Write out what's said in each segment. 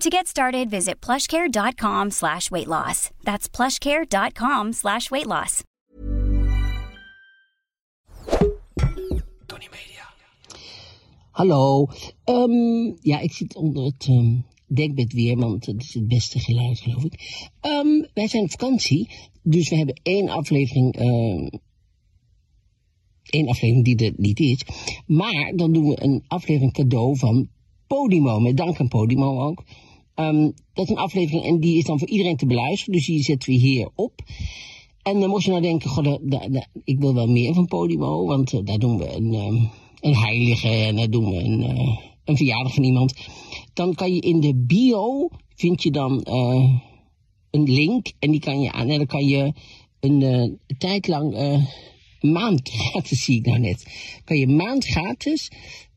To get started, visit plushcare.com slash weight loss. That's plushcare.com slash weight loss. Hallo. Ehm, ja, ik zit onder het ehm, dekbed weer, want dat is het beste geluid, geloof ik. Ehm, wij zijn op vakantie, dus we hebben één aflevering ehm, één aflevering die er niet is. Maar dan doen we een aflevering cadeau van Podimo. Met dank aan Podimo ook. Ehm, dat is een aflevering en die is dan voor iedereen te beluisteren. Dus die zetten we hier op. En dan moest je nou denken, goh, da- da- da- ik wil wel meer van Podimo. Want eh, daar doen we een, ehm, een heilige en daar doen we een, eh, een verjaardag van iemand. Dan kan je in de bio, vind je dan... eh, een link en die kan je aan. En dan kan je een eh, tijd lang eh, een maand gratis, zie ik nou net. Kan je een maand gratis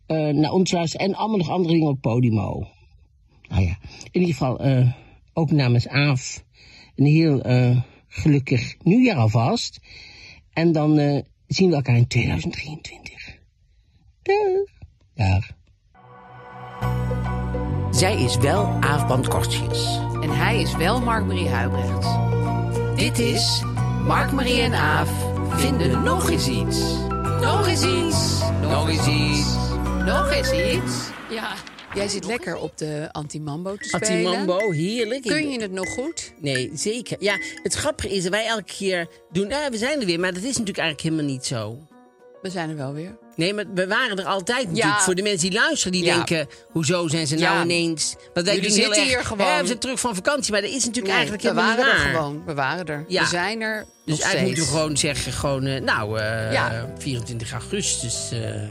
eh, naar ons luisteren en allemaal nog andere dingen op Podimo. Nou ja, in ieder geval eh, ook namens Aaf een heel eh, gelukkig nieuwjaar alvast. En dan eh, zien we elkaar in 2023. Dag. Dag. Zij is wel Aaf Bandkortjes. En hij is wel Mark-Marie Huibrecht. Dit is Mark-Marie en Aaf vinden nog eens iets. Nog eens iets. Nog eens iets. Nog eens iets. Ja. Jij zit lekker op de Antimambo te spelen. Antimambo, heerlijk. Kun je het nog goed? Nee, zeker. Ja, het grappige is dat wij elke keer doen... Nou, we zijn er weer, maar dat is natuurlijk eigenlijk helemaal niet zo. We zijn er wel weer. Nee, maar we waren er altijd natuurlijk voor de mensen die luisteren. Die Ja. denken, hoezo zijn ze nou Ja. ineens... Want wij Jullie doen heel zitten erg, hier gewoon. hè, we zijn terug van vakantie, maar dat is natuurlijk Nee, eigenlijk we helemaal waren niet er waar. gewoon. We waren er. Ja. We zijn er Dus nog eigenlijk steeds. moeten we gewoon zeggen, gewoon, eh, nou, eh, Ja. 24 augustus. eh,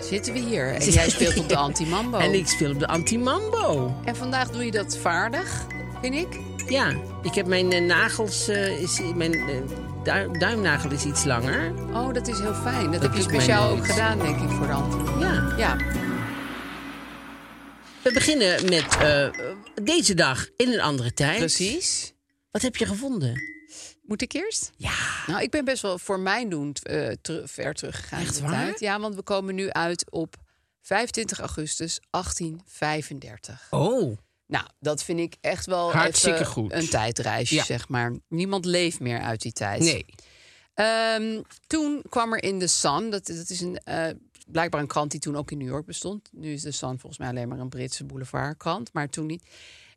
Zitten we hier. En jij speelt op de Antimambo. En ik speel op de Antimambo. En vandaag doe je dat vaardig, vind ik. Ja, ik heb mijn eh, nagels, eh, is, mijn eh, duim- duimnagel is iets langer. Oh, dat is heel fijn. Dat, heb je doet mij speciaal ook nooit. gedaan, denk ik, voor de Antimambo. Ja. Ja. We beginnen met eh, deze dag in een andere tijd. Precies. Wat heb je gevonden? Moet ik eerst? Ja. Nou, ik ben best wel voor mijn doen eh, teru- ver teruggegaan. Echt in de waar? tijd. Ja, want we komen nu uit op 25 augustus 1835. Oh, Nou, dat vind ik echt wel Hartstikke even goed. een tijdreisje, Ja. zeg maar. Niemand leeft meer uit die tijd. nee. Ehm, toen kwam er in The Sun, dat, dat is een, eh, blijkbaar een krant die toen ook in New York bestond. Nu is The Sun volgens mij alleen maar een Britse boulevardkrant, maar toen niet.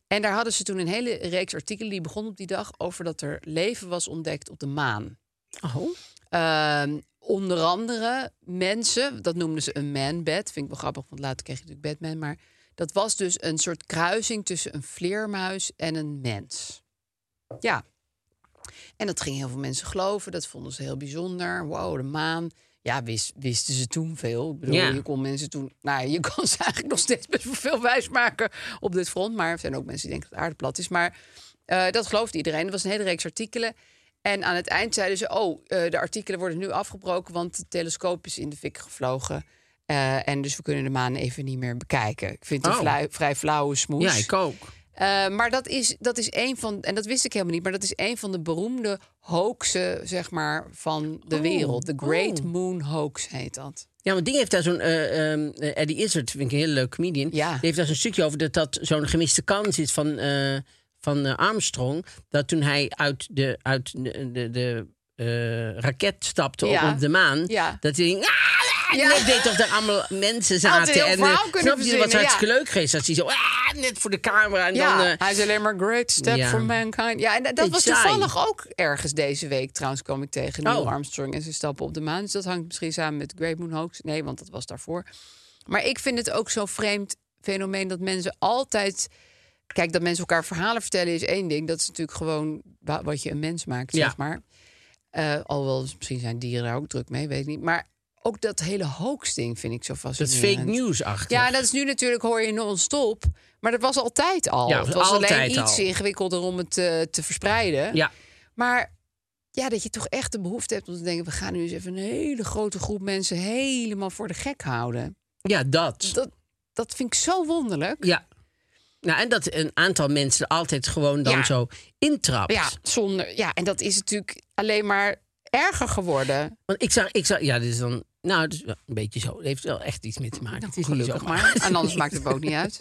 En daar hadden ze toen een hele reeks artikelen, die begon op die dag, over dat er leven was ontdekt op de maan. Oh, Ehm, onder andere mensen, dat noemden ze een manbed. Vind ik wel grappig, want later kreeg je natuurlijk Batman. Maar dat was dus een soort kruising tussen een vleermuis en een mens. Ja. En dat gingen heel veel mensen geloven. Dat vonden ze heel bijzonder. Wow, de maan. Ja, wist, wisten ze toen veel. Ik bedoel, Ja. je kon mensen toen... Nou, je kan ze eigenlijk nog steeds best wel veel wijs maken op dit front. Maar er zijn ook mensen die denken dat de aarde plat is. Maar eh, dat geloofde iedereen. Er was een hele reeks artikelen. En aan het eind zeiden ze... oh, eh, de artikelen worden nu afgebroken... want de telescoop is in de fik gevlogen. Eh, en dus we kunnen de maan even niet meer bekijken. Ik vind het een Oh. vlui- vrij flauwe smoes. ja, ik ook. Eh, maar dat is, dat is een van, en dat wist ik helemaal niet, maar dat is een van de beroemde hoaxen, zeg maar, van de Oh, wereld. De Great oh. Moon Hoax heet dat. Ja, want Ding heeft daar zo'n... eh, ehm, eh, Eddie Izzard, vind ik een hele leuke comedian. Ja. Die heeft daar zo'n stukje over dat dat zo'n gemiste kans is van, eh, van eh, Armstrong. Dat toen hij uit de, uit de, de, de, eh, raket stapte op- Ja. op de maan... Ja. dat hij... ging, "Ah, En net deed toch er allemaal mensen zaten. heel en eh, verhaal kunnen snap je, dat was verzinnen, hartstikke leuk geweest. Dat hij zo, ah, net voor de camera. En Ja, dan, eh, hij is alleen maar great step ja. for mankind. Ja, en dat, dat Dit was saai. toevallig ook ergens deze week. Trouwens kwam ik tegen Neil Oh. Armstrong en zijn stappen op de maan. Dus dat hangt misschien samen met Great Moon Hoax. Nee, want dat was daarvoor. Maar ik vind het ook zo'n vreemd fenomeen dat mensen altijd... Kijk, dat mensen elkaar verhalen vertellen is één ding. Dat is natuurlijk gewoon wa- wat je een mens maakt, Ja. zeg maar. Eh alhoewel, misschien zijn dieren daar ook druk mee, weet ik niet. Maar ook dat hele hoax-ding vind ik zo dat is fascinerend. fake news achter. Ja, dat is nu natuurlijk, hoor je non-stop. Maar dat was altijd al. Ja, het was alleen altijd al. iets ingewikkelder om het eh, te verspreiden. ja. Maar ja, dat je toch echt de behoefte hebt om te denken... we gaan nu eens even een hele grote groep mensen helemaal voor de gek houden. Ja, dat. Dat, dat vind ik zo wonderlijk. Ja. Nou, en dat een aantal mensen altijd gewoon dan Ja. zo intrapt. Ja, zonder, ja, en dat is natuurlijk alleen maar erger geworden. Want ik zag, ik zag, ja, dit is dan, nou, het is wel een beetje zo. Het heeft wel echt iets mee te maken. het is niet Gelukkig zo. maar. En anders maakt het me ook niet uit.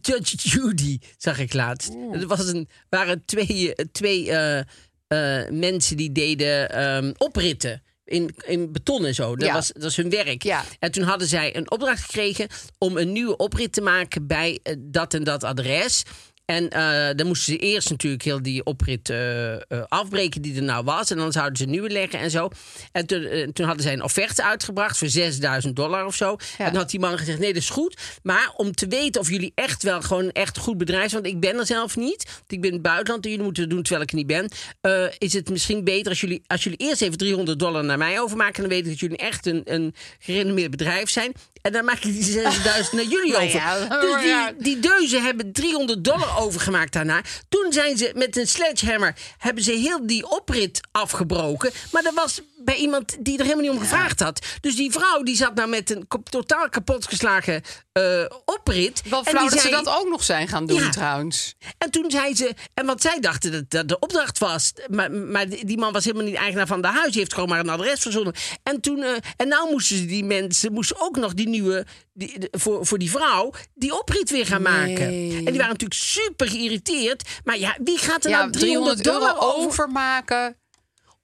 Judge Judy zag ik laatst. Oh. Er was een, waren twee, eh, twee eh, eh, mensen die deden ehm, opritten. In, in beton en zo. Dat, Ja. was, dat was hun werk. Ja. En toen hadden zij een opdracht gekregen om een nieuwe oprit te maken bij eh, dat en dat adres. En eh, dan moesten ze eerst natuurlijk heel die oprit eh, eh, afbreken die er nou was. En dan zouden ze een nieuwe leggen en zo. En toen, eh, toen hadden zij een offerte uitgebracht voor 6000 dollar of zo. Ja. En toen had die man gezegd, nee, dat is goed. Maar om te weten of jullie echt wel gewoon een echt goed bedrijf zijn... want ik ben er zelf niet, want ik ben in het buitenland... en jullie moeten het doen terwijl ik er niet ben... eh, is het misschien beter als jullie, als jullie eerst even 300 dollar naar mij overmaken... dan weet ik dat jullie echt een, een gerenommeerd bedrijf zijn... En dan maak ik die 6000 naar jullie Nou over. ja, dus ja. die, die deuzen hebben 300 dollar overgemaakt daarna. Toen zijn ze met een sledgehammer hebben ze heel die oprit afgebroken. Maar dat was bij iemand die er helemaal niet om gevraagd had. Dus die vrouw die zat nou met een kop- totaal kapotgeslagen eh oprit. Wat En flauw die dat ze zei- dat ook nog zijn gaan doen Ja. trouwens. en toen zei ze, en want zij dachten dat dat de opdracht was. Maar, maar die man was helemaal niet eigenaar van de huis. Die heeft gewoon maar een adres verzonnen. En toen, eh, en nou moesten ze die mensen, moesten ook nog die nieuwe, die, de- voor, voor die vrouw, die oprit weer gaan maken. Nee. En die waren natuurlijk super geïrriteerd. Maar ja, wie gaat er Ja, nou 300 dollar euro over overmaken.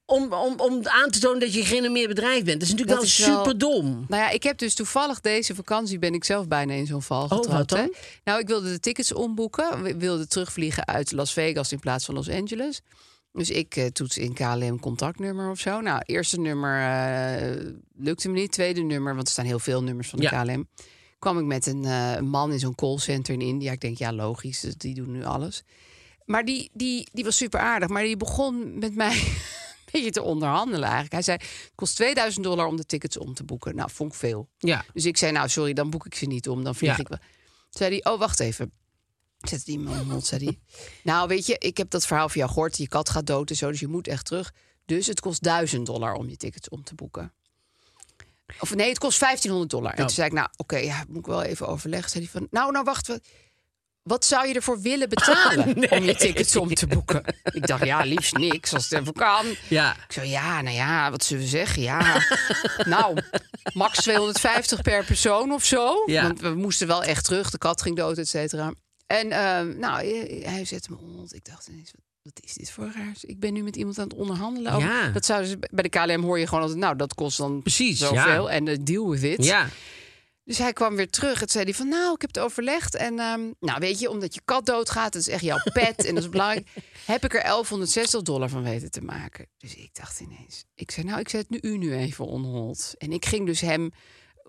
om, om, om aan te tonen dat je geen meer bedrijf bent? Dat is natuurlijk Dat wel is wel- super dom. Nou ja, ik heb dus toevallig deze vakantie ben ik zelf bijna in zo'n val Oh, wat getrapt. hè. dan? Nou, ik wilde de tickets omboeken. We wilden terugvliegen uit Las Vegas in plaats van Los Angeles. Dus ik eh, toets in KLM contactnummer of zo. Nou, eerste nummer eh, lukte me niet. Tweede nummer, want er staan heel veel nummers van de Ja. KLM. Kwam ik met een eh, man in zo'n callcenter in India. Ik denk, ja, logisch, dus die doen nu alles. Maar die, die, die was super aardig. Maar die begon met mij een beetje te onderhandelen eigenlijk. Hij zei, het kost 2000 dollar om de tickets om te boeken. Nou, vond ik veel. Ja. Dus ik zei, nou sorry, dan boek ik ze niet om, dan vlieg Ja. ik wel. Toen zei hij, oh wacht even. Zet die man mond, zei hij. Nou weet je, ik heb dat verhaal van jou gehoord. Je kat gaat dood en zo, dus je moet echt terug. Dus het kost 1000 dollar om je tickets om te boeken. Of nee, het kost 1500 dollar. En Oh. toen zei ik, nou oké, ja, moet ik wel even overleggen. Zei hij van, nou nou wacht, wat, wat zou je ervoor willen betalen om je tickets om te boeken? Ik dacht, ja, liefst niks als het even kan. Ja. Ik zo, ja, nou ja, wat zullen we zeggen? Ja, nou, max 250 per persoon of zo. Ja. Want we moesten wel echt terug. De kat ging dood, et cetera. En ehm, nou, eh, hij zette me onder. Ik dacht ineens, wat, wat is dit voor raars? Ik ben nu met iemand aan het onderhandelen. over- Ja. Dat zouden ze, bij de KLM hoor je gewoon altijd, nou, dat kost dan Precies, ja. zoveel. En eh, deal with it. Ja. Dus hij kwam weer terug en zei hij van, nou, ik heb het overlegd. En ehm, nou, weet je, omdat je kat doodgaat, dat is echt jouw pet en dat is belangrijk. Heb ik er 1160 dollar van weten te maken. Dus ik dacht ineens, ik zei, nou, ik zet nu u nu even on hold. En ik ging dus hem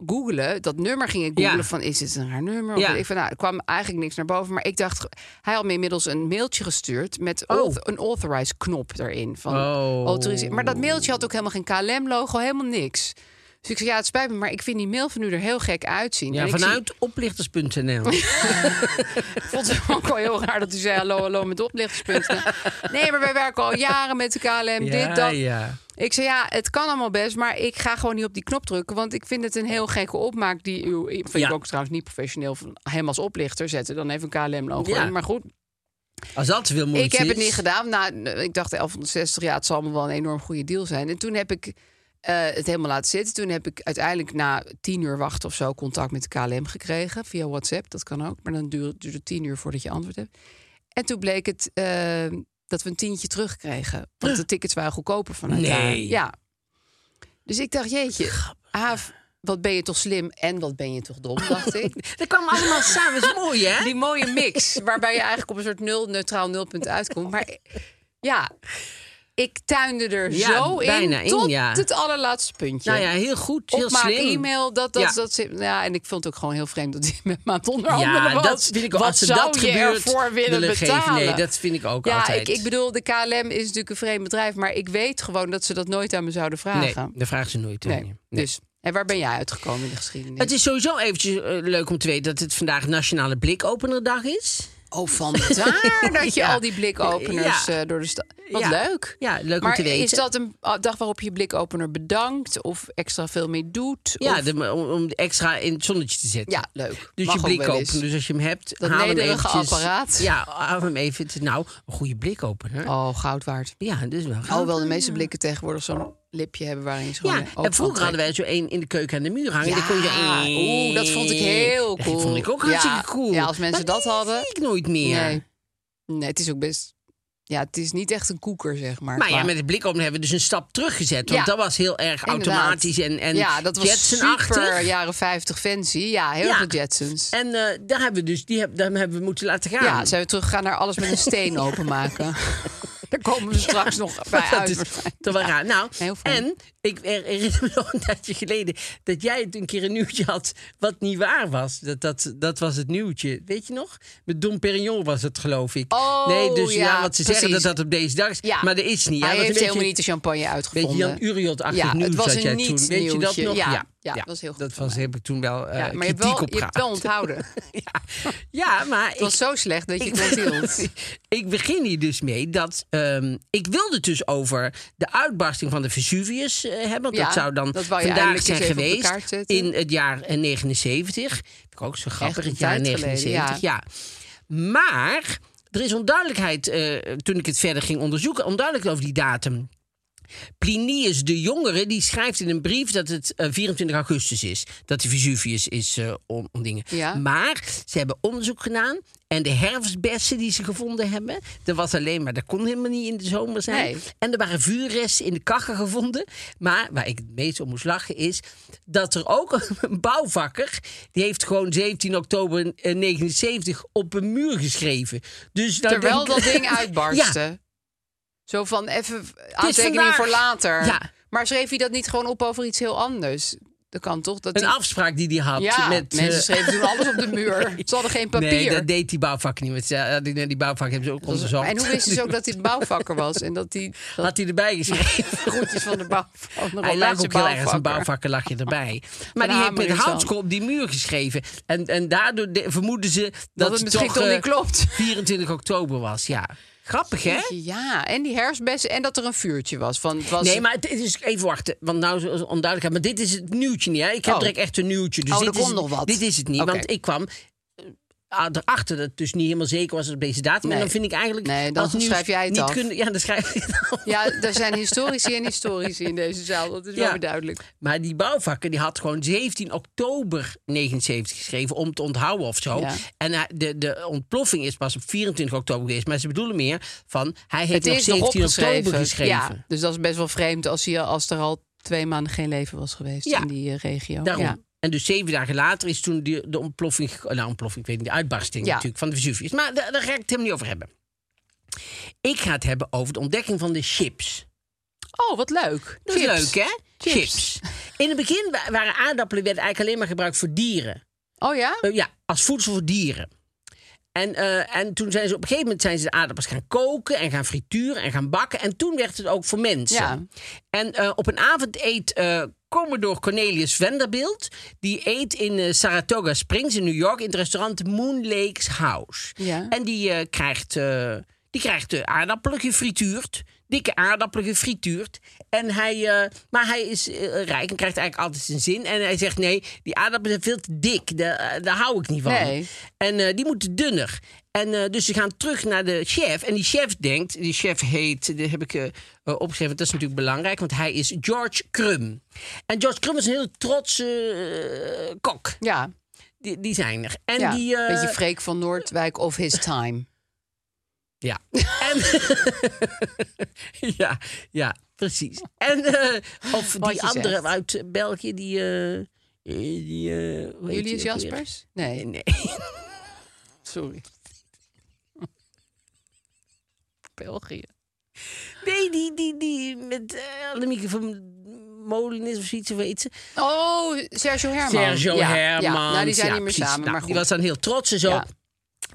googlen, dat nummer ging ik googlen Ja. van, is dit een raar nummer? Of Ja. weet ik van, nou, er kwam eigenlijk niks naar boven. Maar ik dacht, hij had me inmiddels een mailtje gestuurd met Oh. auth- een authorize knop erin. Van, Oh. autoriseer. Dus, Maar dat mailtje had ook helemaal geen KLM-logo, helemaal niks. Dus ik zei, ja, het spijt me, maar ik vind die mail van u er heel gek uitzien. En Ja, ik vanuit oplichters.nl. zie- vond het ook wel heel raar dat u zei, hallo, hallo, met oplichtspunten. nee, maar wij werken al jaren met de KLM, dit, Ja, dat. ja. Ik zei, ja, het kan allemaal best, maar ik ga gewoon niet op die knop drukken. Want ik vind het een heel gekke opmaak die uw... Vind Ja. ik ook trouwens niet professioneel van hem als oplichter zetten. Dan even een KLM-logo Ja. in. Maar goed, Als dat te veel moeite ik heb het is. niet gedaan. Nou, ik dacht 1160, ja, het zal me wel een enorm goede deal zijn. En toen heb ik eh, het helemaal laten zitten. Toen heb ik uiteindelijk na tien uur wachten of zo contact met de KLM gekregen. Via WhatsApp, dat kan ook. Maar dan duurde duurde het tien uur voordat je antwoord hebt. En toen bleek het eh, dat we een tientje terugkregen. Want de tickets waren goedkoper vanuit Nee. daar. Ja. Dus ik dacht, jeetje, Haaf, wat ben je toch slim en wat ben je toch dom, dacht ik. Dat kwam allemaal samen. is mooi, hè? Die mooie mix, waarbij je eigenlijk op een soort nul, neutraal nulpunt uitkomt. Maar ja, ik tuinde er Ja, zo in, bijna in, tot ja. het allerlaatste puntje. Nou ja, heel goed. Op Heel mijn slim. e-mail, dat, dat, Ja. dat zit. Ja, en ik vond het ook gewoon heel vreemd dat hij met me aan het onderhandelen Ja, was. dat vind ik ook. Wat Als ze zou dat je gebeurt, ervoor willen willen geven. betalen? Nee, dat vind ik ook ja, altijd. Ik, ik bedoel, de KLM is natuurlijk een vreemd bedrijf, maar ik weet gewoon dat ze dat nooit aan me zouden Nee, vragen. daar vragen ze nooit. Nee, aan je. Nee. Dus, en waar ben jij uitgekomen in de geschiedenis? Het is sowieso eventjes eh, leuk om te weten dat het vandaag Nationale Blikopenerdag is. Oh, vandaar dat je Ja. al die blikopeners Ja. eh, door de stad... Wat Ja. leuk. Ja, leuk om maar te weten. is dat een ah, dag waarop je blikopener bedankt of extra veel mee doet? Ja, of... de- om, om extra in het zonnetje te zetten. Ja, leuk. Dus Mag je ook blik wel eens. openen. Dus als je hem hebt, Dat haal hem nederige eventjes. apparaat. Ja, haal hem even. te- Nou, een goede blikopener. Oh, goud waard. Ja, dus wel. gaaf. Alhoewel de meeste blikken tegenwoordig zo'n lipje hebben waarin ze Ja, gewoon... en vroeger hadden wij zo één in de keuken aan de muur hangen. En dan kon je Oh, Ja, er- oeh, dat vond ik heel cool. Dat vond ik ook Ja, hartstikke cool. ja, als mensen dat hadden. zie ik nooit meer. Nee. nee, het is ook best... Ja, het is niet echt een koeker, zeg maar. Maar ja, met het blikopener hebben we dus een stap teruggezet. Want Ja. dat was heel erg Inderdaad. automatisch en, en ja, dat was Jetson-achtig. super jaren 50 fancy. Ja, heel Ja. veel Jetsons. En eh, daar hebben we dus die heb, daar hebben we moeten laten gaan. Ja, zijn we teruggegaan naar alles met een steen openmaken. Daar komen we straks nog bij dat uit. is waarschijnlijk. toch wel raar. Nou, Heel fijn. en ik her- herinner me nog een tijdje geleden dat jij het een keer een nieuwtje had wat niet waar was. Dat, dat, dat was het nieuwtje. Weet je nog? Met Dom Perignon was het, geloof ik. Oh, nee, dus ja, ja, wat ze precies. zeggen dat dat op deze dag is. Ja. Maar dat is niet. Hij ja, dat heeft een helemaal beetje- niet de champagne Weet uitgevonden. je, Jan Uriot-achtig Ja, het nieuws was had een jij toen. Weet je dat niets-nieuwtje. nog? Ja, ja, dat was heel goed Dat van was, mij. heb ik toen wel eh Ja, maar je hebt, kritiek wel, op je hebt wel gehad. onthouden. ja. ja, maar Het was ik- zo slecht dat je het onthield. ik begin hier dus mee dat ehm, ik wilde het dus over de uitbarsting van de Vesuvius eh, hebben. Want Ja, dat zou dan dat wou je vandaag eindelijk zijn eens even op de geweest kaart zetten. in het jaar eh, 79. Vind ik ook zo grappig, Echt een het jaar tijd geleden, 79. Ja. Maar er is onduidelijkheid eh, toen ik het verder ging onderzoeken, onduidelijk over die datum. Plinius de Jongere die schrijft in een brief dat het eh, 24 augustus is. Dat de Vesuvius is eh om, om dingen. Ja. Maar ze hebben onderzoek gedaan. En de herfstbessen die ze gevonden hebben. Dat was alleen maar, dat kon helemaal niet in de zomer zijn. Nee. En er waren vuurresten in de kakken gevonden. Maar waar ik het meest om moest lachen is. dat er ook een bouwvakker. die heeft gewoon 17 oktober eh, 79 op een muur geschreven. Dus dan Terwijl denk dat ik- ding uitbarstte. Ja, Zo van even aantekening vandaag. voor later. Ja. Maar schreef hij dat niet gewoon op over iets heel anders? Dat kan toch? Dat een hij- afspraak die hij had. Ja, met, eh, mensen schreven toen alles op de muur. Ze hadden geen papier. Nee, dat deed die bouwvakker niet. Want ze- eh, die, die bouwvakker hebben ze ook Dat was- onderzocht. En hoe wisten ze ook dat hij een bouwvakker was? En dat hij dat Had hij erbij geschreven. groetjes van de bouw van de Hij lag Romeinse ook heel erg als bouwvakker. een bouwvakker, lag je erbij. Maar Van die heeft met Hamer is houtskool op die muur geschreven. En, en daardoor de- vermoeden ze dat, Dat het misschien toch eh, niet klopt. 24 oktober was, ja. Grappig, hè? Ja, en die herfstbessen en dat er een vuurtje was. Van, het was Nee, maar het is even wachten, want nou is het onduidelijkheid. Maar dit is het nieuwtje niet, hè? Ik heb Oh. direct echt een nieuwtje. Dus Oh, dit er is komt het- nog wat. Dit is het niet, Oké. want ik kwam eh, erachter dat het dus niet helemaal zeker was op deze datum. En Nee. dan vind ik eigenlijk... Nee, dan als nieuws schrijf jij het niet af. kunnen- ja, dan schrijf ik het af. Ja, er zijn historici en historici in deze zaal. Dat is Ja. wel weer duidelijk. Maar die bouwvakker die had gewoon 17 oktober 79 geschreven om te onthouden of zo. Ja. En hij- de, de ontploffing is pas op 24 oktober geweest. Maar ze bedoelen meer van hij heeft Het nog is nog 17 opgeschreven. oktober geschreven. Ja, dus dat is best wel vreemd als, hij, als er al twee maanden geen leven was geweest Ja. in die eh, regio. Daarom. Ja. En dus zeven dagen later is toen die, de ontploffing, ge- nou ontploffing, ik weet niet, de uitbarsting Ja. natuurlijk van de Vesuvius. Maar daar, daar ga ik het helemaal niet over hebben. Ik ga het hebben over de ontdekking van de chips. Oh, wat leuk. Dat is Chips. leuk, hè? Chips. In het begin wa- waren aardappelen werden eigenlijk alleen maar gebruikt voor dieren. Oh ja? Eh, ja, als voedsel voor dieren. En, eh, en toen zijn ze op een gegeven moment zijn ze de aardappels gaan koken en gaan frituren en gaan bakken. En toen werd het ook voor mensen. Ja. En eh, op een avond eet eh Commodore Cornelius Vanderbilt. Die eet in eh, Saratoga Springs in New York in het restaurant Moon Lakes House. Ja. En die eh, krijgt, eh, die krijgt eh, aardappelen gefrituurd. Dikke aardappelen gefrituurd. En hij, eh, maar hij is eh, rijk en krijgt eigenlijk altijd zijn zin. En hij zegt: nee, die aardappelen zijn veel te dik. Daar, eh, daar hou ik niet van. Nee. En eh, die moeten dunner. En eh, dus ze gaan terug naar de chef. En die chef denkt, die chef heet, die heb ik eh, eh, opgeschreven, dat is natuurlijk belangrijk, want hij is George Crum. En George Crum is een heel trotse eh, kok. Ja. Die, die zijn er. En ja. die. eh, Beetje Freek van Noordwijk of his time. Ja. En, ja, ja, precies. En eh, of Wat die je andere zegt. uit België, die. eh, eh, die, eh, hoe heet die Julius ook alweer? Jaspers? Nee, Nee. sorry. België. Nee, die, die, die met eh Annemieke van Molen is of zoiets, hoe heet ze? Oh, Sergio Herman. Sergio ja, Hermans. Ja. Nou, die zijn Ja, niet meer precies. samen, Nou, maar goed. Die was dan heel trots en zo. Ja.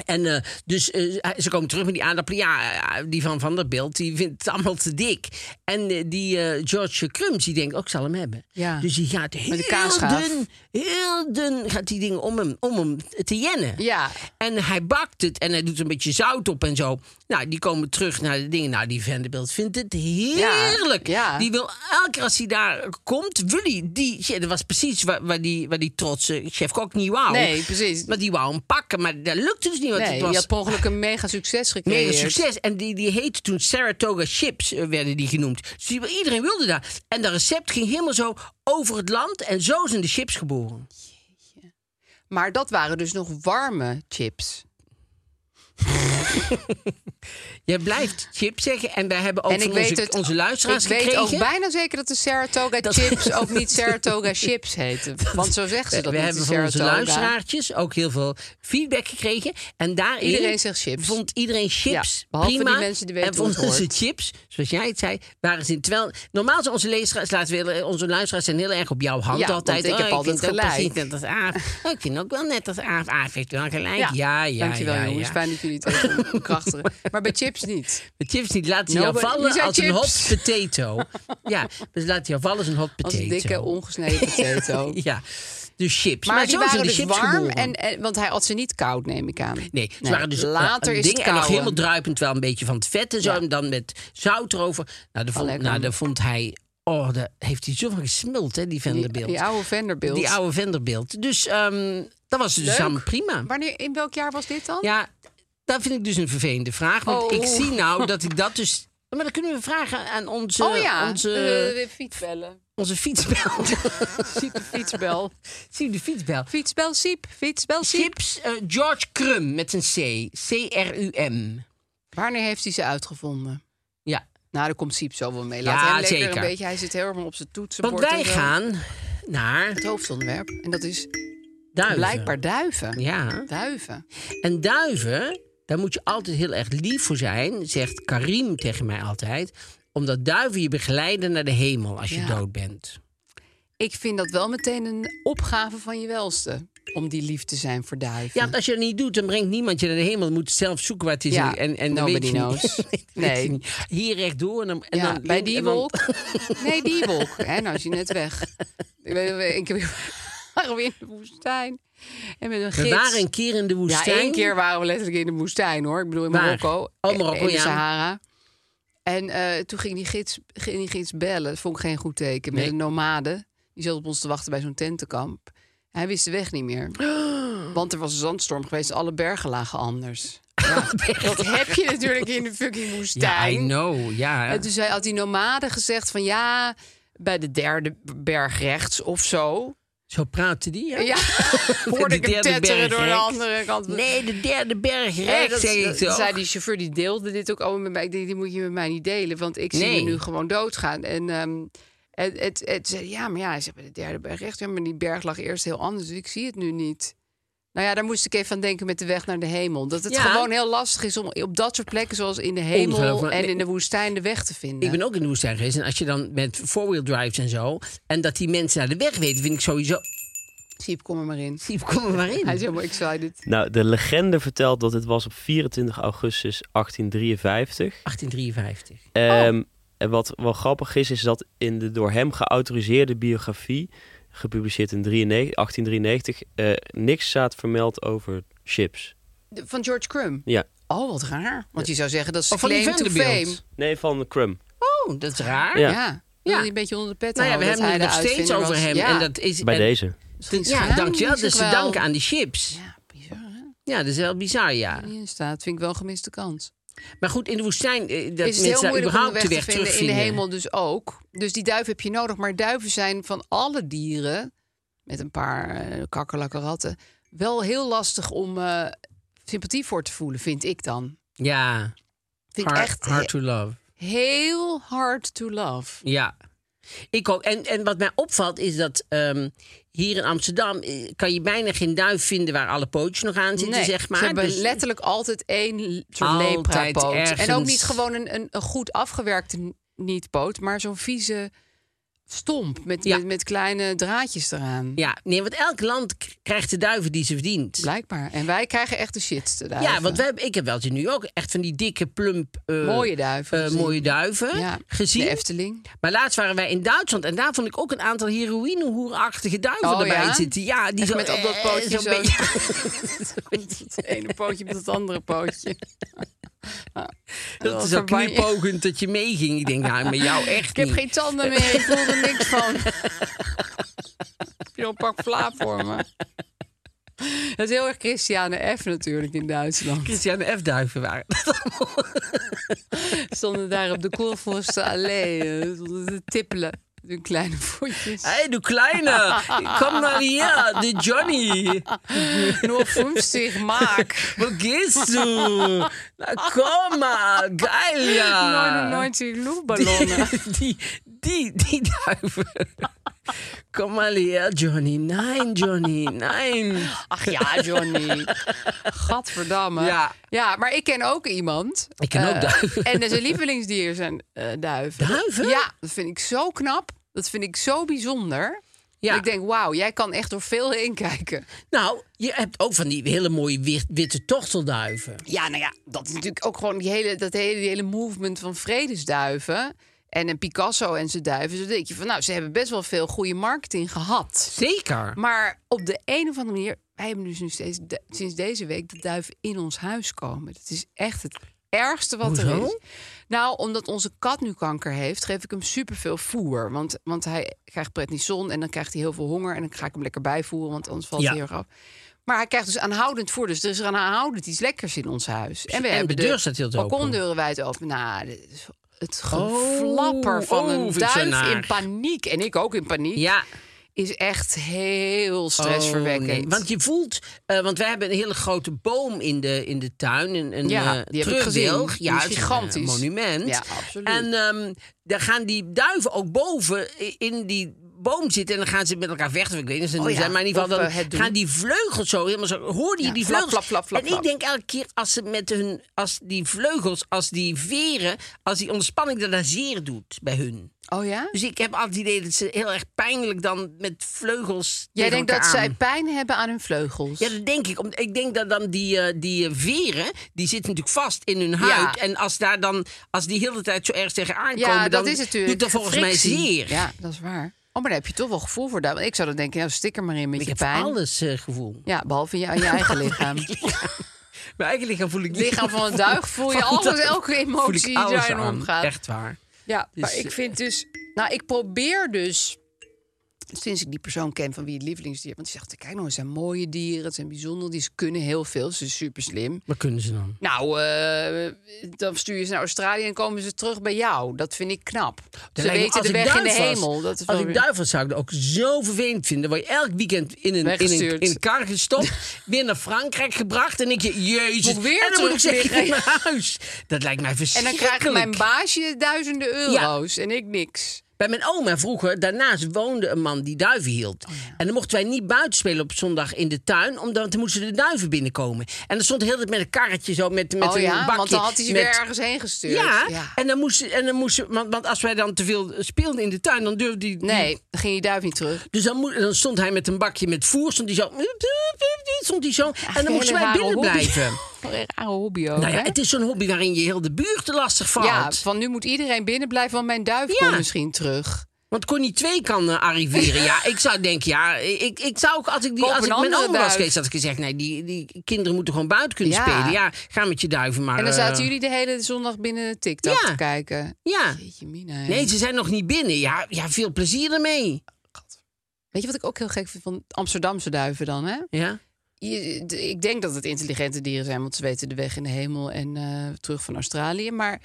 En eh, dus eh, ze komen terug met die aardappelen. Ja, eh, die van Van der Bilt, die vindt het allemaal te dik. En eh, die eh, George Crumbs, die denkt, ook zal hem hebben. Ja. Dus die gaat heel kaasschaaf. dun, heel dun, gaat die dingen om hem, om hem te jennen. Ja. En hij bakt het en hij doet er een beetje zout op en zo. Nou, die komen terug naar de dingen. Nou, die Vanderbilt vindt het heerlijk. ja. Die wil elke keer als hij daar komt, wil hij die. ja, Dat was precies waar, waar, die, waar die trotse chef-kok niet wou. Nee, precies. Want die wou hem pakken, maar dat lukte dus niet. Want Nee, het je was had per ongeluk een mega succes gecreëerd. Mega succes. En die, die heette toen Saratoga Chips, eh, werden die genoemd. Dus die- iedereen wilde daar. En dat recept ging helemaal zo over het land. En zo zijn de chips geboren. Maar dat waren dus nog warme chips. Jij blijft chips zeggen. En wij hebben ook van onze, onze luisteraars Ik weet gekregen. ook bijna zeker dat de Saratoga chips ook niet Saratoga chips heten. Want zo zeggen ze we dat we niet, hebben de van onze Saratoga. luisteraartjes ook heel veel feedback gekregen. En daarin Iedereen zegt chips. vond iedereen chips Ja, behalve prima. die mensen die weten en hoe het vonden ze hoort. chips, zoals jij het zei, waren ze in. Terwijl normaal zijn onze luisteraars, laten we, onze luisteraars zijn heel erg op jouw hand Ja, want altijd. ik heb oh, altijd vind het ook gelijk. precies net als Aaf. Oh, ik vind ook wel net als Ah, Aaf. Aaf heeft wel gelijk. Ja, Ja, ja, ja. Dankjewel ja, jongens, fijn dat jullie het even bekrachtigen. Maar bij chips niet. De chips niet laten ze jou Nobody- Nou, die vallen zijn als een hot chips. potato. ja, dus laten jou vallen als een hot Als potato. een dikke ongesneden potato. Ja, dus chips. Maar, die zo zijn waren de dus chips warm, geboren. en, en, want hij had ze niet koud, neem ik aan. Nee, ze waren dus later eh, is dingen het en nog kouwen. helemaal druipend wel een beetje van het vet en zo. Ja. En dan met zout erover. Nou, daar vond, lekker. nou, daar vond hij... Oh, daar heeft hij zo van gesmuld, hè, die Die, Vanderbilt. die oude Vanderbilt. Die oude Vanderbilt. Dus ehm, dat was dus Leuk. allemaal prima. Wanneer, in welk jaar was dit dan? Ja, dat vind ik dus een vervelende vraag. Want Oh. ik zie nou dat ik dat dus... Maar dan kunnen we vragen aan onze, oh ja, onze, eh, fietsbellen. onze fietsbel. Siep, fietsbel. zie je de fietsbel? Fietsbel, siep. Fietsbel, siep. Chips eh, George Crum met een C. C-R-U-M. Wanneer heeft hij ze uitgevonden? Ja, Nou, daar komt Siep zo wel mee. Laat Ja, hem lekker zeker. een beetje. Hij zit helemaal op zijn toetsenbord. want wij en zo. gaan naar Het hoofdonderwerp. En dat is duiven. blijkbaar duiven. Ja. Duiven. En duiven, daar moet je altijd heel erg lief voor zijn, zegt Karim tegen mij altijd. Omdat duiven je begeleiden naar de hemel als je Ja. dood bent. Ik vind dat wel meteen een opgave van je welste. Om die lief te zijn voor duiven. Ja, want als je dat niet doet, dan brengt niemand je naar de hemel. Je moet zelf zoeken waar het is. Ja, en- en, en dan nobody weet je niet. knows. Nee, dat Nee. weet je niet. Hier rechtdoor en dan... En Ja, dan bij die en dan- wolk. Nee, die wolk. Hè, nou is hij net weg. Ik ben ik ben- waren we in de woestijn. En met een We gids. waren een keer in de woestijn. Ja, één keer waren we letterlijk in de woestijn, hoor. Ik bedoel, in Waar? Marokko. eh, Oh, Marokko, In de ja. Sahara. En eh, toen ging die, gids, ging die gids bellen. Dat vond ik geen goed teken. Met Nee. een nomade. Die zat op ons te wachten bij zo'n tentenkamp. Hij wist de weg niet meer. Want er was een zandstorm geweest. Alle bergen lagen anders. Ja, dat heb je natuurlijk in de fucking Ja, woestijn. I know. Ja. En toen zei, had die nomade gezegd van ja, bij de derde berg rechts of zo. Zo praatte die, ja. Ja, hoorde De ik hem derde tetteren berg door de rechts. andere kant. Nee, de derde berg Nee, rechts, dat- zeg ik dat- zo. zei die chauffeur, die deelde dit ook allemaal met mij. Ik denk, die moet je met mij niet delen, want ik zie Nee. me nu gewoon doodgaan. En ehm, het, het, het zei, ja, maar ja, hij zei bij de derde berg rechts. Ja, maar die berg lag eerst heel anders, dus ik zie het nu niet. Nou ja, daar moest ik even aan denken met de weg naar de hemel. Dat het Ja. gewoon heel lastig is om op dat soort plekken, zoals in de hemel Ongelooflijk. en Nee. in de woestijn, de weg te vinden. Ik ben ook in de woestijn geweest. En als je dan met four-wheel drives en zo... en dat die mensen naar de weg weten, vind ik sowieso... Siep, kom er maar in. Siep, kom er maar Hij is in. helemaal excited. Nou, de legende vertelt dat het was op 24 augustus 1853. 1853. Ehm, en wat wel grappig is, is dat in de door hem geautoriseerde biografie, gepubliceerd in 93 1893, eh, niks staat vermeld over chips. De- Van George Crum. Ja. Oh, wat raar. Want je zou zeggen dat is Of Oh, van die claim to fame. Vanderbilt. Nee, van Crumb. Oh, dat is raar. Ja. Ja. ja. Wil je een beetje onder de pet Nou ja, we houden hebben dat het nog hij de steeds uitvinder over was? hem. Ja. En dat is, Bij en- deze. Misschien Ja, schaamt dankjewel. hij Dus zich te wel. danken aan die chips. Ja, bizar hè? Ja, dat is wel bizar, ja. Die in staat. Vind ik wel een gemiste kans. Maar goed, in de woestijn... eh, Dat is het mensen heel daar moeilijk om de überhaupt weg de te weg vinden. terugvinden. In de hemel dus ook. Dus die duiven heb je nodig. Maar duiven zijn van alle dieren, met een paar eh kakkerlakken ratten, wel heel lastig om eh, sympathie voor te voelen, vind ik dan. Ja, Vind ik hard, echt hard to love. he- heel hard to love. Ja. Ik ook. En, en wat mij opvalt is dat ehm, hier in Amsterdam eh, kan je bijna geen duif vinden waar alle pootjes nog aan zitten, Nee, zeg maar. Ze hebben Dus- letterlijk altijd één l- soort Altijd leprapoot. En ook ergens. niet gewoon een, een, een goed afgewerkte n- niet poot, maar zo'n vieze stomp met, Ja. met, met kleine draadjes eraan. Ja, nee, want elk land k- krijgt de duiven die ze verdient. Blijkbaar. En wij krijgen echt de shit te duiven. Ja, want wij, ik heb wel eens in New York echt van die dikke, plump... eh, Mooie duiven eh, gezien. mooie duiven Ja, gezien. De Efteling. Maar laatst waren wij in Duitsland en daar vond ik ook een aantal heroïnehoerachtige duiven Oh, erbij ja? zitten. Ja, die Echt zo, met op dat eh, pootje zo'n zo. beetje- Het ene pootje met het andere pootje. dat is ook Verbanj- kniepogend dat je meeging. Ik denk, nou, met jou echt Oh, Ik heb niet. geen tanden meer, ik voel er niks van. heb je al een pak vla voor me? Dat is heel erg Christiane F. natuurlijk in Duitsland. Christiane F. duiven waren. stonden daar op de Koolvoorste Allee. eh, stonden te tippelen. met Hun kleine voetjes. Hé, hey, doe kleine. Kom naar hier, de Johnny. Nur 50 Mark. Wo gehst du? Na, kom maar. Geil, Ah. ja. 99 Luftballonnen. Die, die, die duiven. Kom maar hier, Johnny. Nein, Johnny, nein. Ach ja, Johnny. Gadverdamme. Ja. ja, maar ik ken ook iemand. Ik ken ook Eh, duiven. En zijn lievelingsdier zijn eh, duiven. Duiven? Ja, dat vind ik zo knap. Dat vind ik zo bijzonder. Ja. Ik denk, wauw, jij kan echt door veel heen kijken. Nou, je hebt ook van die hele mooie wit- witte tochtelduiven. Ja, nou ja, dat is natuurlijk ook gewoon die hele, dat hele, die hele movement van vredesduiven. En een Picasso en zijn duiven. Dus dan denk je van, nou, ze hebben best wel veel goede marketing gehad. Zeker. Maar op de een of andere manier, wij hebben dus nu steeds, de- sinds deze week de duiven in ons huis komen. Dat is echt het ergste wat er Hoezo? is. Nou, omdat onze kat nu kanker heeft, geef ik hem superveel voer. Want, want hij krijgt prednison en dan krijgt hij heel veel honger. En dan ga ik hem lekker bijvoeren, want anders valt Ja. hij heel erg af. Maar hij krijgt dus aanhoudend voer. Dus er is er aan aanhoudend iets lekkers in ons huis. En we Dus En hebben de deur staat heel te open. balkondeuren wijd open. Nou, dit is het Oh, geflapper van oh, een vind ik zo duif in naar. paniek. En ik ook in paniek Ja. is echt heel Oh, stressverwekkend. nee. Want je voelt, eh, want wij hebben een hele grote boom in de, in de tuin. Een, een, Ja, eh, die heb ik terugwilg. gezien. Die Ja, is het een, eh, gigantisch. monument. Ja, absoluut. En ehm, daar gaan die duiven ook boven i- in die boom zitten. En dan gaan ze met elkaar vechten. Ik weet niet of ze het Oh doen ja, zijn, maar in ieder of, geval dan eh, het doen. gaan die vleugels zo helemaal zo. Hoor je Ja, die flap, flap, vleugels? flap, flap, en flap. ik denk elke keer als ze met hun, als die vleugels, als die veren, als die ontspanning dat daar zeer doet bij hun. oh ja? Dus ik heb altijd het idee dat ze heel erg pijnlijk dan met vleugels. Jij tegen denkt dat elkaar aan. zij pijn hebben aan hun vleugels? Ja, dat denk ik. Om- Ik denk dat dan die, eh, die eh, veren, die zitten natuurlijk vast in hun huid. En als, daar dan, als die heel de tijd zo erg tegen aankomen, Ja, dat dan is natuurlijk. doet dat volgens mij frictie. zeer. Ja, dat is waar. Oh, maar daar heb je toch wel gevoel voor. daar. Want Ik zou dan denken, nou, stik er maar in met Ik je heb pijn. alles eh, gevoel. Ja, behalve je, je eigen lichaam. Het Mijn eigen lichaam voel ik niet. lichaam van een duig voel je Van alles, dat- elke voel emotie ik die alles daarin aan. omgaat. Echt waar. Ja, maar Dus, ik eh, vind dus... Nou, ik probeer dus... Sinds ik die persoon ken van wie het lievelingsdier... Want die zegt, kijk nou, het zijn mooie dieren, het zijn bijzonder. Die ze kunnen heel veel, ze zijn super slim. Wat kunnen ze dan? Nou, eh, dan stuur je ze naar Australië en komen ze terug bij jou. Dat vind ik knap. Dat ze lijkt me- weten als de ik weg in de duif was- hemel. Dat is wel als ik weer- duif was, zou ik dat ook zo vervelend vinden. Word je elk weekend in een, in een, Weggestuurd. in een kar gestopt, weer naar Frankrijk gebracht. En ik je, jezus. Moet ik weer en dan moet ik terug zeggen, weer- ik moet naar huis. Dat lijkt mij en dan verschrikkelijk. krijgt mijn baasje duizenden euro's en ik niks. Bij mijn oma vroeger, daarnaast woonde een man die duiven hield. Oh, En dan mochten wij niet buiten spelen op zondag in de tuin, omdat dan moesten de duiven binnenkomen. En dan stond heel het met een karretje zo, met, met oh een ja, bakje. want dan had hij ze met- weer ergens heen gestuurd. Ja, en dan moesten, en dan moesten want, want als wij dan te veel speelden in de tuin, dan durfde die... Nee, dan ging die duif niet terug. Dus dan, moe- dan stond hij met een bakje met voer, stond hij zo... Stond hij zo en Een dan moesten wij hele rare binnen hobby. blijven. Een rare hobby ook. Nou ja, hè? het is zo'n hobby waarin je heel de buurt te lastig valt. ja, van nu moet iedereen binnen blijven, want mijn duif Ja. komt misschien terug. Want Connie 2 kan eh, arriveren. Ja, ik zou denken, ja, ik, ik zou ook als ik, die, Koop als een ik mijn andere oma was duif. geweest, had ik gezegd, nee, die, die kinderen moeten gewoon buiten kunnen Ja. spelen. Ja, ga met je duiven maar. En dan eh, zaten jullie de hele zondag binnen TikTok Ja. te kijken. Ja. Jeetje, Mina. hè. Nee, ze zijn nog niet binnen. Ja, ja veel plezier ermee. Weet je wat ik ook heel gek vind van Amsterdamse duiven dan, hè? Ja. Je- d- ik denk dat het intelligente dieren zijn, want ze weten de weg in de hemel en eh, terug van Australië. Maar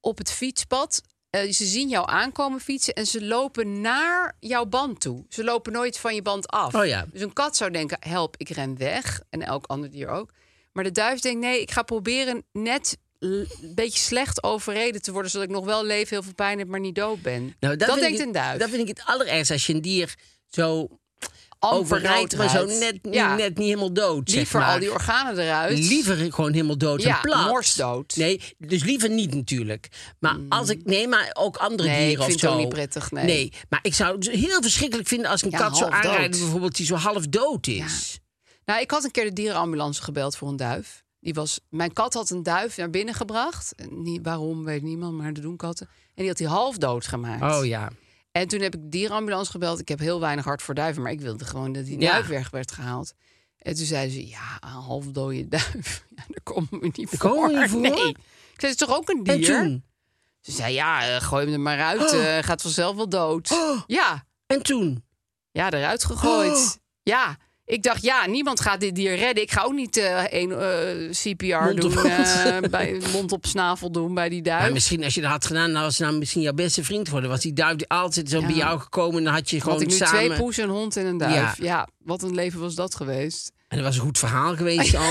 op het fietspad, eh, ze zien jou aankomen fietsen en ze lopen naar jouw band toe. Ze lopen nooit van je band af. Oh ja. Dus een kat zou denken, help, ik ren weg. En elk ander dier ook. Maar de duif denkt, nee, ik ga proberen net l- beetje slecht overreden te worden... zodat ik nog wel leef, heel veel pijn heb, maar niet dood ben. Nou, dat vind ik denkt het- een duif. Dat vind ik het allerergste als je een dier zo Amper overrijdt, maar zo doodrijdt. net, Ja. net niet helemaal dood. zeg Liever maar. al die organen eruit. Liever gewoon helemaal dood Ja, en plat. morsdood. Mm. Nee, dus liever niet natuurlijk. Maar als ik... Nee, maar ook andere Nee, dieren ik of vind zo. het ook niet prettig, nee. maar ik zou het dus heel verschrikkelijk vinden als ik een Ja, kat zou half dood. aanrijden... bijvoorbeeld die zo half dood is. Nou, ik had een keer de dierenambulance gebeld voor een duif. Die was, mijn kat had een duif naar binnen gebracht. En Niet, waarom, weet niemand, maar dat doen katten. En die had hij half dood gemaakt. Oh ja. En toen heb ik de dierenambulance gebeld. Ik heb heel weinig hart voor duiven, maar ik wilde gewoon dat die Ja. duif weg werd gehaald. En toen zeiden ze, ja, een half dode duif. Ja, daar komen we niet voor. komen we niet voor? Nee. Ik zei, het is toch ook een En dier? toen? Oh. Ze zei, ja, eh, gooi hem er maar uit. eh, gaat vanzelf wel dood. Ja, En toen? ja, eruit gegooid. Oh. Ja, ik dacht, ja, niemand gaat dit dier redden. Ik ga ook niet eh, een, eh, CPR Mond op doen, mond. eh, bij, mond op snavel doen bij die duif. Maar Nou, misschien als je dat had gedaan, dan was ze nou misschien jouw beste vriend geworden. Was die duif die altijd zo bij jou gekomen en dan had je gewoon had ik nu samen... twee poes, een hond en een Ja. duif. Ja. wat een leven was dat geweest. En dat was een goed verhaal geweest ook.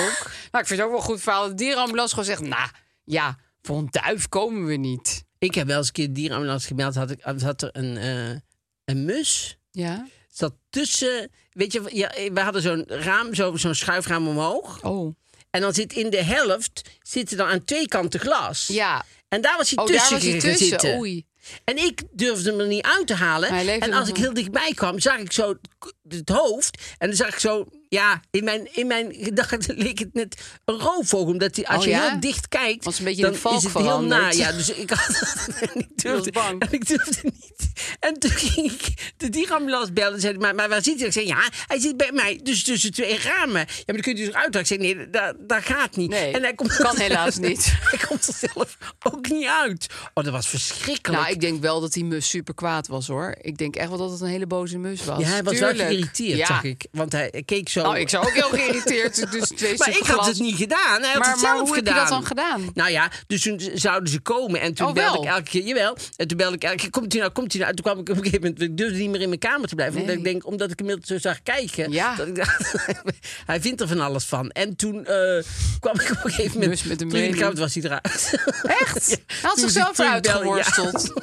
Nou, ik vind het ook wel een goed verhaal. De dierenambulance gewoon zegt, nou, ja, voor een duif komen we niet. Ik heb wel eens een keer de dierenambulance gemeld. Had, ik, had er een, eh, een mus... Ja. zat tussen. Weet je, ja, we hadden zo'n raam, zo- zo'n schuifraam omhoog. Oh. En dan zit in de helft zitten dan aan twee kanten glas. Ja. En daar was hij Oh, daar tussen was hij gaan tussen. zitten. Oei. En ik durfde hem er niet uit te halen. Maar hij leefde en nog als ik wel. heel dichtbij kwam, zag ik zo k- het hoofd. En dan zag ik zo, ja, in mijn, in mijn gedachten leek het net een roofvogel. Omdat die, als Oh je ja? heel dicht kijkt, Was een beetje dan in een valk is het heel veranderd. na. Ja, dus ik had en ik durfde, was bang. En ik durfde niet. En toen ging ik de dierenambulance bellen. En zei, maar, maar waar zit hij? Ik zei, ja, hij zit bij mij dus tussen twee ramen. Ja, maar dan kun je dus eruit. Ik zei, nee, dat, dat gaat niet. Nee, en hij komt kan helaas niet. Hij komt er zelf ook niet uit. Oh, dat was verschrikkelijk. Nou, ik denk wel dat die mus super kwaad was, hoor. Ik denk echt wel dat het een hele boze mus was. Ja, hij was Tuurlijk. wel geïrriteerd, Ja. zag ik. Want hij keek zo... Nou, ik zou ook heel geïrriteerd. zijn, Dus twee maar stukken ik had glas. het niet gedaan. Hij had Maar- het maar zelf hoe heb je gedaan. dat dan gedaan? Nou ja, dus toen z- zouden ze komen. En toen Oh, belde wel? ik elke keer, jawel. En toen belde ik elke keer, komt hij nou, komt hij nou. En toen kwam ik op een gegeven moment, ik durfde niet meer in mijn kamer te blijven. Omdat Nee. ik denk, omdat ik inmiddels zo zag kijken. Ja. Dat ik dacht, hij vindt er van alles van. En toen eh, kwam ik op een gegeven moment. Mus met een toen in de mening. kamer was hij eruit. Echt? Hij had toen zichzelf die eruit toen belde, ja. geworsteld.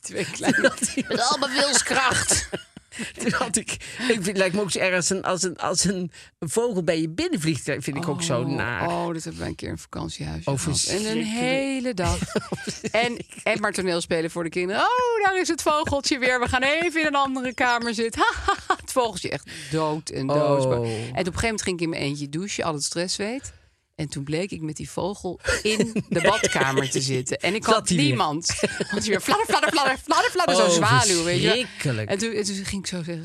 Twee kleine. Met al mijn wilskracht. Toen had ik, ik vind, het lijkt me ook zo erg als een, als een, als een vogel bij je binnenvliegt. Dat vind ik ook zo naar. Oh, dat hebben wij een keer in een vakantiehuis Oh, gehad. En een verschrikkelijk. hele dag. en, en maar toneelspelen voor de kinderen. Oh, daar is het vogeltje weer. We gaan even in een andere kamer zitten. het vogeltje echt dood en dood. Oh. En op een gegeven moment ging ik in mijn eentje douchen. Al het stressweet. En toen bleek ik met die vogel in de badkamer te zitten. En ik Zat had hij weer? niemand. Want hij weer fladder, fladder, fladder, fladder, fladder. Oh, Zo'n zwaluw, weet je. wel. verschrikkelijk. En toen, en toen ging ik zo zeggen...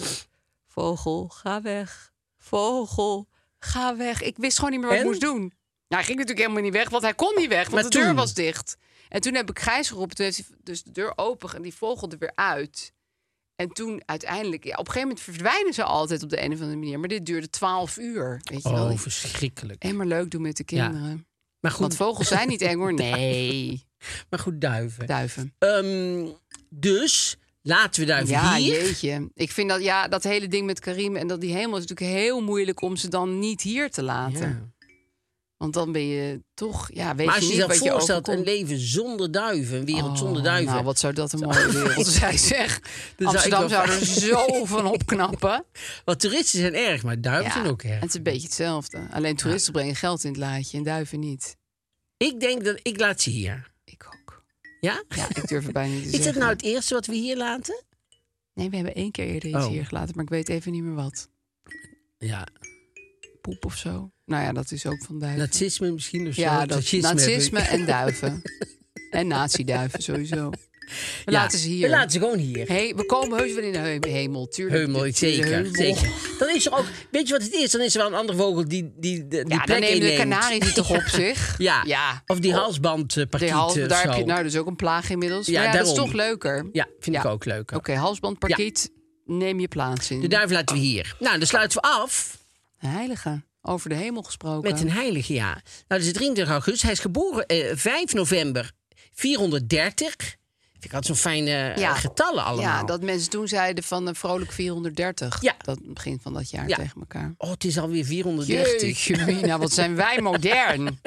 Vogel, ga weg. Vogel, ga weg. Ik wist gewoon niet meer wat En? ik moest doen. Nou, hij ging natuurlijk helemaal niet weg, want hij kon niet weg. Want Maar de toen? deur was dicht. En toen heb ik Gijs geroepen. Toen heeft hij dus de deur open en die vogel er weer uit. En toen uiteindelijk... Ja, op een gegeven moment verdwijnen ze altijd op de een of andere manier. Maar dit duurde twaalf uur, weet je wel. Oh, verschrikkelijk. En maar leuk doen met de Ja. kinderen. Maar goed, Want vogels zijn niet eng hoor. Nee, maar goed duiven. duiven. Ehm, dus laten we duiven Ja, hier. jeetje. Ik vind dat, ja, dat hele ding met Karim en dat die hemel is natuurlijk heel moeilijk om ze dan niet hier te laten. Ja. Want dan ben je toch, ja, weet Maar als je je je niet dat wat je voorstelt, een overkomt. leven zonder duiven, een wereld zonder Oh, duiven. Dus Nou, wat zou dat een mooie wereld zijn, zeg. ik Amsterdam wel zou er vaak- zo van opknappen. Want toeristen zijn erg, maar duiven zijn ook en erg. het is een beetje hetzelfde. Alleen toeristen brengen geld in het laadje en duiven niet. Ik denk dat ik laat ze hier. Ik ook. Ja? Ja, ik durf het bijna niet te Is dat zeggen. nou het eerste wat we hier laten? Nee, we hebben één keer eerder iets Oh. hier gelaten, maar ik weet even niet meer wat. Ja. Poep of zo. Nou ja, dat is ook van duiven. Nazisme misschien of zo. Ja, dat, Fascisme heb ik. nazisme en duiven. en nazi-duiven sowieso. We Ja, laten ze hier. We laten ze gewoon hier. Hey, we komen heus wel in de he- hemel, tuurlijk. Heumel, De- de zeker, heumel. zeker. Dan is er ook, weet je wat het is? Dan is er wel een andere vogel die die, die Ja, dan plek nemen de inneemt. kanarie die toch op zich. Ja. ja. Of die Oh, halsbandpartiet. die hals, of daar zo. heb je nou dus ook een plaag inmiddels. Ja, Ja, maar ja, dat is daarom. toch leuker. Ja, vind ik ook leuk. Oké, halsbandparkiet, neem je plaats in. De duif laten we hier. Nou, dan sluiten we af Heilige, over de hemel gesproken. met een heilige, ja. Nou, dat is 23 augustus. Hij is geboren eh, 5 november 430. Vind ik had zo'n fijne eh, Ja. getallen allemaal. Ja, dat mensen toen zeiden van eh, vrolijk 430. Ja. Dat begin van dat jaar Ja. tegen elkaar. Oh, het is alweer 430. Nou, Jeetje, Mina, wat zijn wij modern.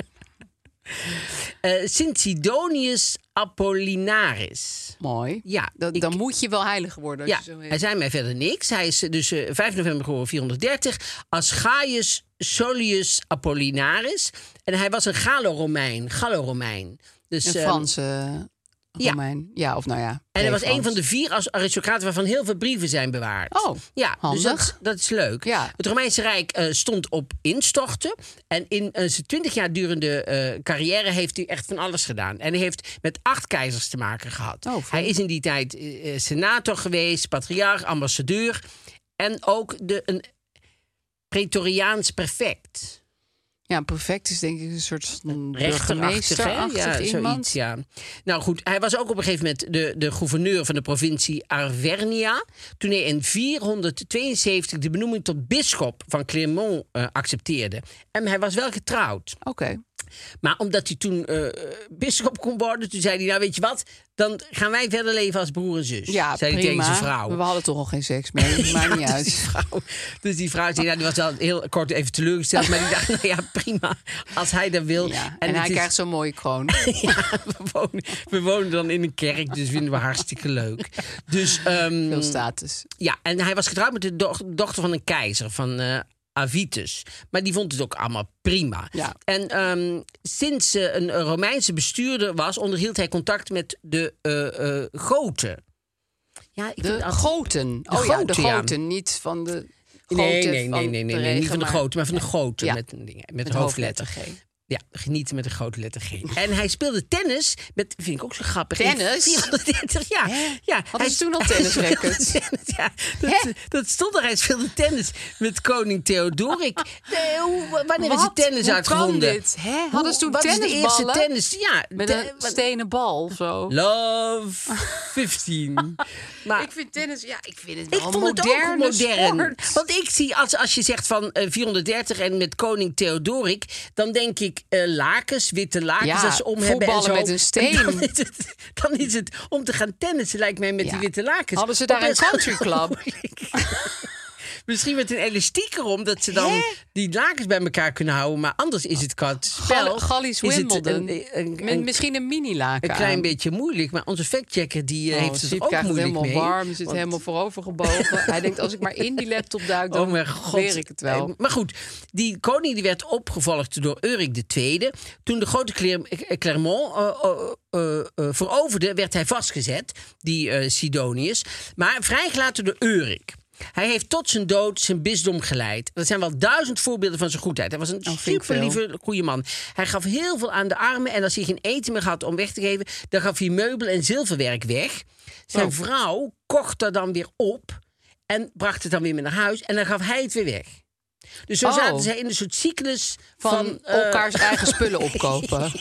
Eh, Sint Sidonius Apollinaris. Mooi. Ja, Dat, ik- Dan moet je wel heilig worden. Als Ja, je zo heet. hij zei mij verder niks. Hij is eh, dus eh, 5 november geboren 430 als Gaius Solius Apollinaris. En hij was een Gallo-Romein. Gallo-Romein. Dus, Een ehm, Franse eh, ja. Romein. Ja. of nou ja. en hij was een pre-Frans. van de vier als aristocraten waarvan heel veel brieven zijn bewaard. Oh, ja, handig. Dus dat, is- dat is leuk. Ja. Het Romeinse Rijk eh, stond op instorten. En in eh, zijn twintig jaar durende eh, carrière heeft hij echt van alles gedaan. En hij heeft met acht keizers te maken gehad. Oh, hij is in die tijd eh, eh, senator geweest, patriarch, ambassadeur. En ook de, een pretoriaans prefect. Ja, perfect is denk ik een soort Rechterachtig, hè? burgemeester ja, iemand. zoiets, ja. Nou goed, hij was ook op een gegeven moment de, de gouverneur van de provincie Arvernia. Toen hij in 472 de benoeming tot bisschop van Clermont eh, accepteerde. En hij was wel getrouwd. Oké. Maar omdat hij toen eh bisschop kon worden, toen zei hij: Nou, weet je wat, dan gaan wij verder leven als broer en zus. Ja, zei hij prima. tegen zijn vrouw. We hadden toch al geen seks meer. dus het maakt niet Ja, dus die uit. vrouw, dus die vrouw zei, nou, die was wel heel kort even teleurgesteld. Maar die dacht, nou ja, prima. Als hij dat wil. Ja. En, het hij is- Mm. krijgt zo'n mooie kroon. ja, we wonen, we wonen dan in een kerk, dus vinden we hartstikke leuk. Dus ehm, Veel status. ja, en hij was getrouwd met de doch- dochter van een keizer, van eh, Avitus. Maar die vond het ook allemaal prima. Ja. En ehm, sinds ze een Romeinse bestuurder was, onderhield hij contact met de eh, eh, Goten. Ja, ik vind De altijd- goten. Oh ja, de goten, ja. goten. Niet van de goten Nee, nee, van nee, nee, de nee, nee. regen, Niet van de maar grote, maar van de grote. Ja. Met, een ding, met, met een hoofdletter. G. Ja, genieten met een grote letter G. En hij speelde tennis met, vind ik ook zo grappig. Tennis? 430, ja. ja. Hadden ze toen al tennisrackets? speelde tennis, ja. dat, dat stond er. Hij speelde tennis met koning Theodoric. Nee, hoe, wanneer is het Wat? tennis Hoe uitgevonden? kan dit? Hè? Hoe- Hadden ze toen wat is de tennisballen? eerste tennis? Ja. Met te- een wat- stenen bal of zo. Love 15. maar, Ik vind tennis, ja, ik vind het ik wel een vond het ook moderne Nou, modern. sport. Want ik zie, als, als je zegt van eh, 430 en met koning Theodoric... dan denk ik eh, lakens, witte lakens Ja, als ze om hebben en voetballen zo. met een steen. En Dan is, het, dan is het om te gaan tennissen, lijkt mij, met Ja. die witte lakens. Hadden ze daar een Opeens- country club? Misschien met een elastiek erom, dat ze dan die lakens bij elkaar kunnen houden. Maar anders is het kat spel. Gal- Gallisch is het Wimbledon. een- een- Met een- misschien een mini-laken een klein aan. beetje moeilijk, maar onze factchecker die eh, Oh, heeft het Siep ook krijgt moeilijk het helemaal mee. warm, zit want- helemaal voorover gebogen. Hij denkt, als ik maar in die laptop duik, dan Oh mijn god. leer ik het wel. Eh, Maar goed, die koning die werd opgevolgd door Eurik II. Toen de grote Cler- eh, Clermont eh, eh, eh, eh, veroverde, werd hij vastgezet, die eh, Sidonius. Maar vrijgelaten door Eurik. Hij heeft tot zijn dood zijn bisdom geleid. Er zijn wel duizend voorbeelden van zijn goedheid. Hij was een Oh, vind ik super lieve, goede man. Hij gaf heel veel aan de armen. En als hij geen eten meer had om weg te geven, dan gaf hij meubel en zilverwerk weg. Zijn Oh. vrouw kocht dat dan weer op. En bracht het dan weer mee naar huis. En dan gaf hij het weer weg. Dus zo Oh. zaten zij in een soort cyclus van, Van, eh, elkaars eigen spullen opkopen.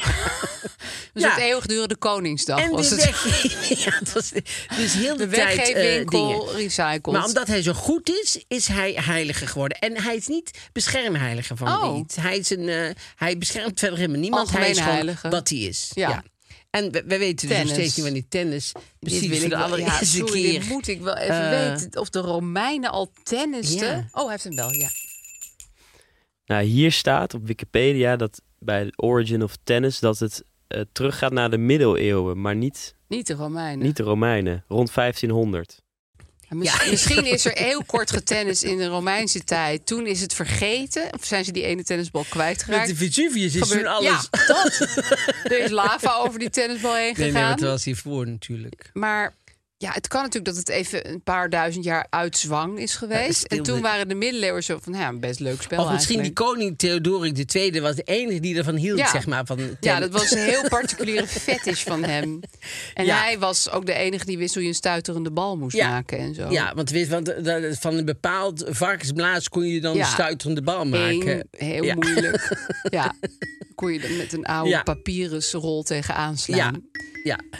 Een Ja. soort eeuwigdurende Koningsdag en was weer het. weg. ja, dat was de- dus heel de, De tijd eh, dingen. weggeefwinkel recycled. Maar omdat hij zo goed is, is hij heiliger geworden. En hij is niet beschermheiliger van Oh. iets. Hij, is een, eh, hij beschermt verder helemaal niemand. hij Algemeen is gewoon heilige. wat hij is. Ja. En we, we weten dus nog Tennis. steeds niet wanneer tennis. Precies dit wil ik voor de wel- ja, allereerste sorry, keer. dit moet ik wel even eh, weten. Of de Romeinen al tennisten. Ja. Oh, hij heeft hem wel, ja. Nou, hier staat op Wikipedia dat bij de Origin of Tennis dat het eh, teruggaat naar de middeleeuwen, maar niet, Niet de Romeinen. niet de Romeinen, rond 1500. Ja, mis- Ja. Misschien is er heel kort getennis in de Romeinse tijd. Toen is het vergeten. Of zijn ze die ene tennisbal Met kwijtgeraakt? de Vesuvius is toen Gebeurt- alles. Ja, dat. Er is lava over die tennisbal heen nee, nee, gegaan. maar het was hiervoor natuurlijk. Maar ja, het kan natuurlijk dat het even een paar duizend jaar uit zwang is geweest. en speelde- toen waren de middeleeuwen zo van, nou ja, een best leuk spel Of misschien die eigenlijk. koning Theodoric II was de enige die ervan hield, Ja. zeg maar. Van tennis. Ja, dat was een heel particuliere fetish van hem. En Ja. hij was ook de enige die wist hoe je een stuiterende bal moest Ja. maken en zo. Ja, want, weet, want eh, dat- van een bepaald varkensblaas kon je dan Ja. een stuiterende bal Eén, maken. heel Ja. moeilijk. Ja, kon je er met een oude Ja. papyrus rol tegen Ja, aanslaan. ja.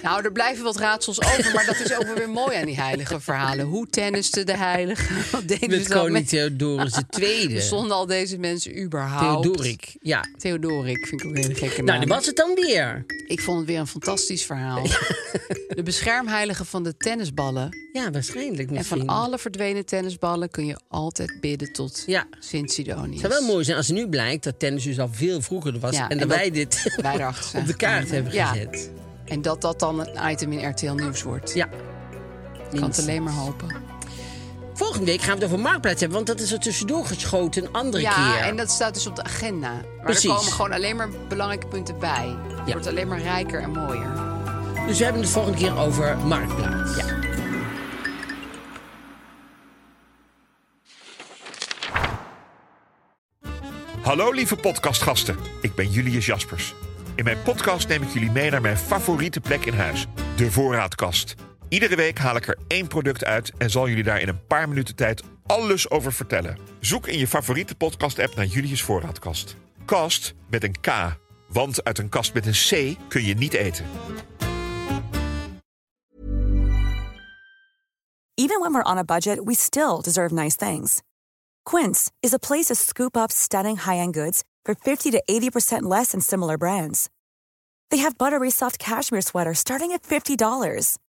Nou, er blijven wat raadsels over, maar dat is ook wel weer mooi aan die heilige verhalen. Hoe tenniste de heilige? Wat deden Met ze dan koning met Theodorus II. Zonder al deze mensen überhaupt. Theodoric, ja. Theodorik vind ik ook een hele gekke naam. Nou, dat was het dan weer. Ik vond het weer een fantastisch verhaal. De beschermheilige van de tennisballen. Ja, waarschijnlijk En misschien. van alle verdwenen tennisballen kun je altijd bidden tot Ja. Sint Sidonius. Het zou wel mooi zijn als nu blijkt dat tennis dus al veel vroeger was. Ja. en dat wij dit wij erachter zijn op de kaart gekomen. hebben Ja. gezet. En dat dat dan een item in RTL Nieuws wordt. Ja. Ik kan het alleen maar hopen. Volgende week gaan we het over Marktplaats hebben, want dat is er tussendoor geschoten een andere Ja, keer. en dat staat dus op de agenda. Maar Precies. er komen gewoon alleen maar belangrijke punten bij. Het Ja. wordt alleen maar rijker en mooier. Dus we hebben het volgende keer over Marktplaats. Hallo lieve podcastgasten, ik ben Julius Jaspers. In mijn podcast neem ik jullie mee naar mijn favoriete plek in huis, de voorraadkast. Iedere week haal ik er één product uit en zal jullie daar in een paar minuten tijd alles over vertellen. Zoek in je favoriete podcast-app naar Julius Voorraadkast. Kast met een K, want uit een kast met een C kun je niet eten. even when we're on a budget, we still deserve nice things. Quince is a place to scoop up stunning high-end goods for 50 to 80% less than similar brands. They have buttery soft cashmere sweaters starting at $50,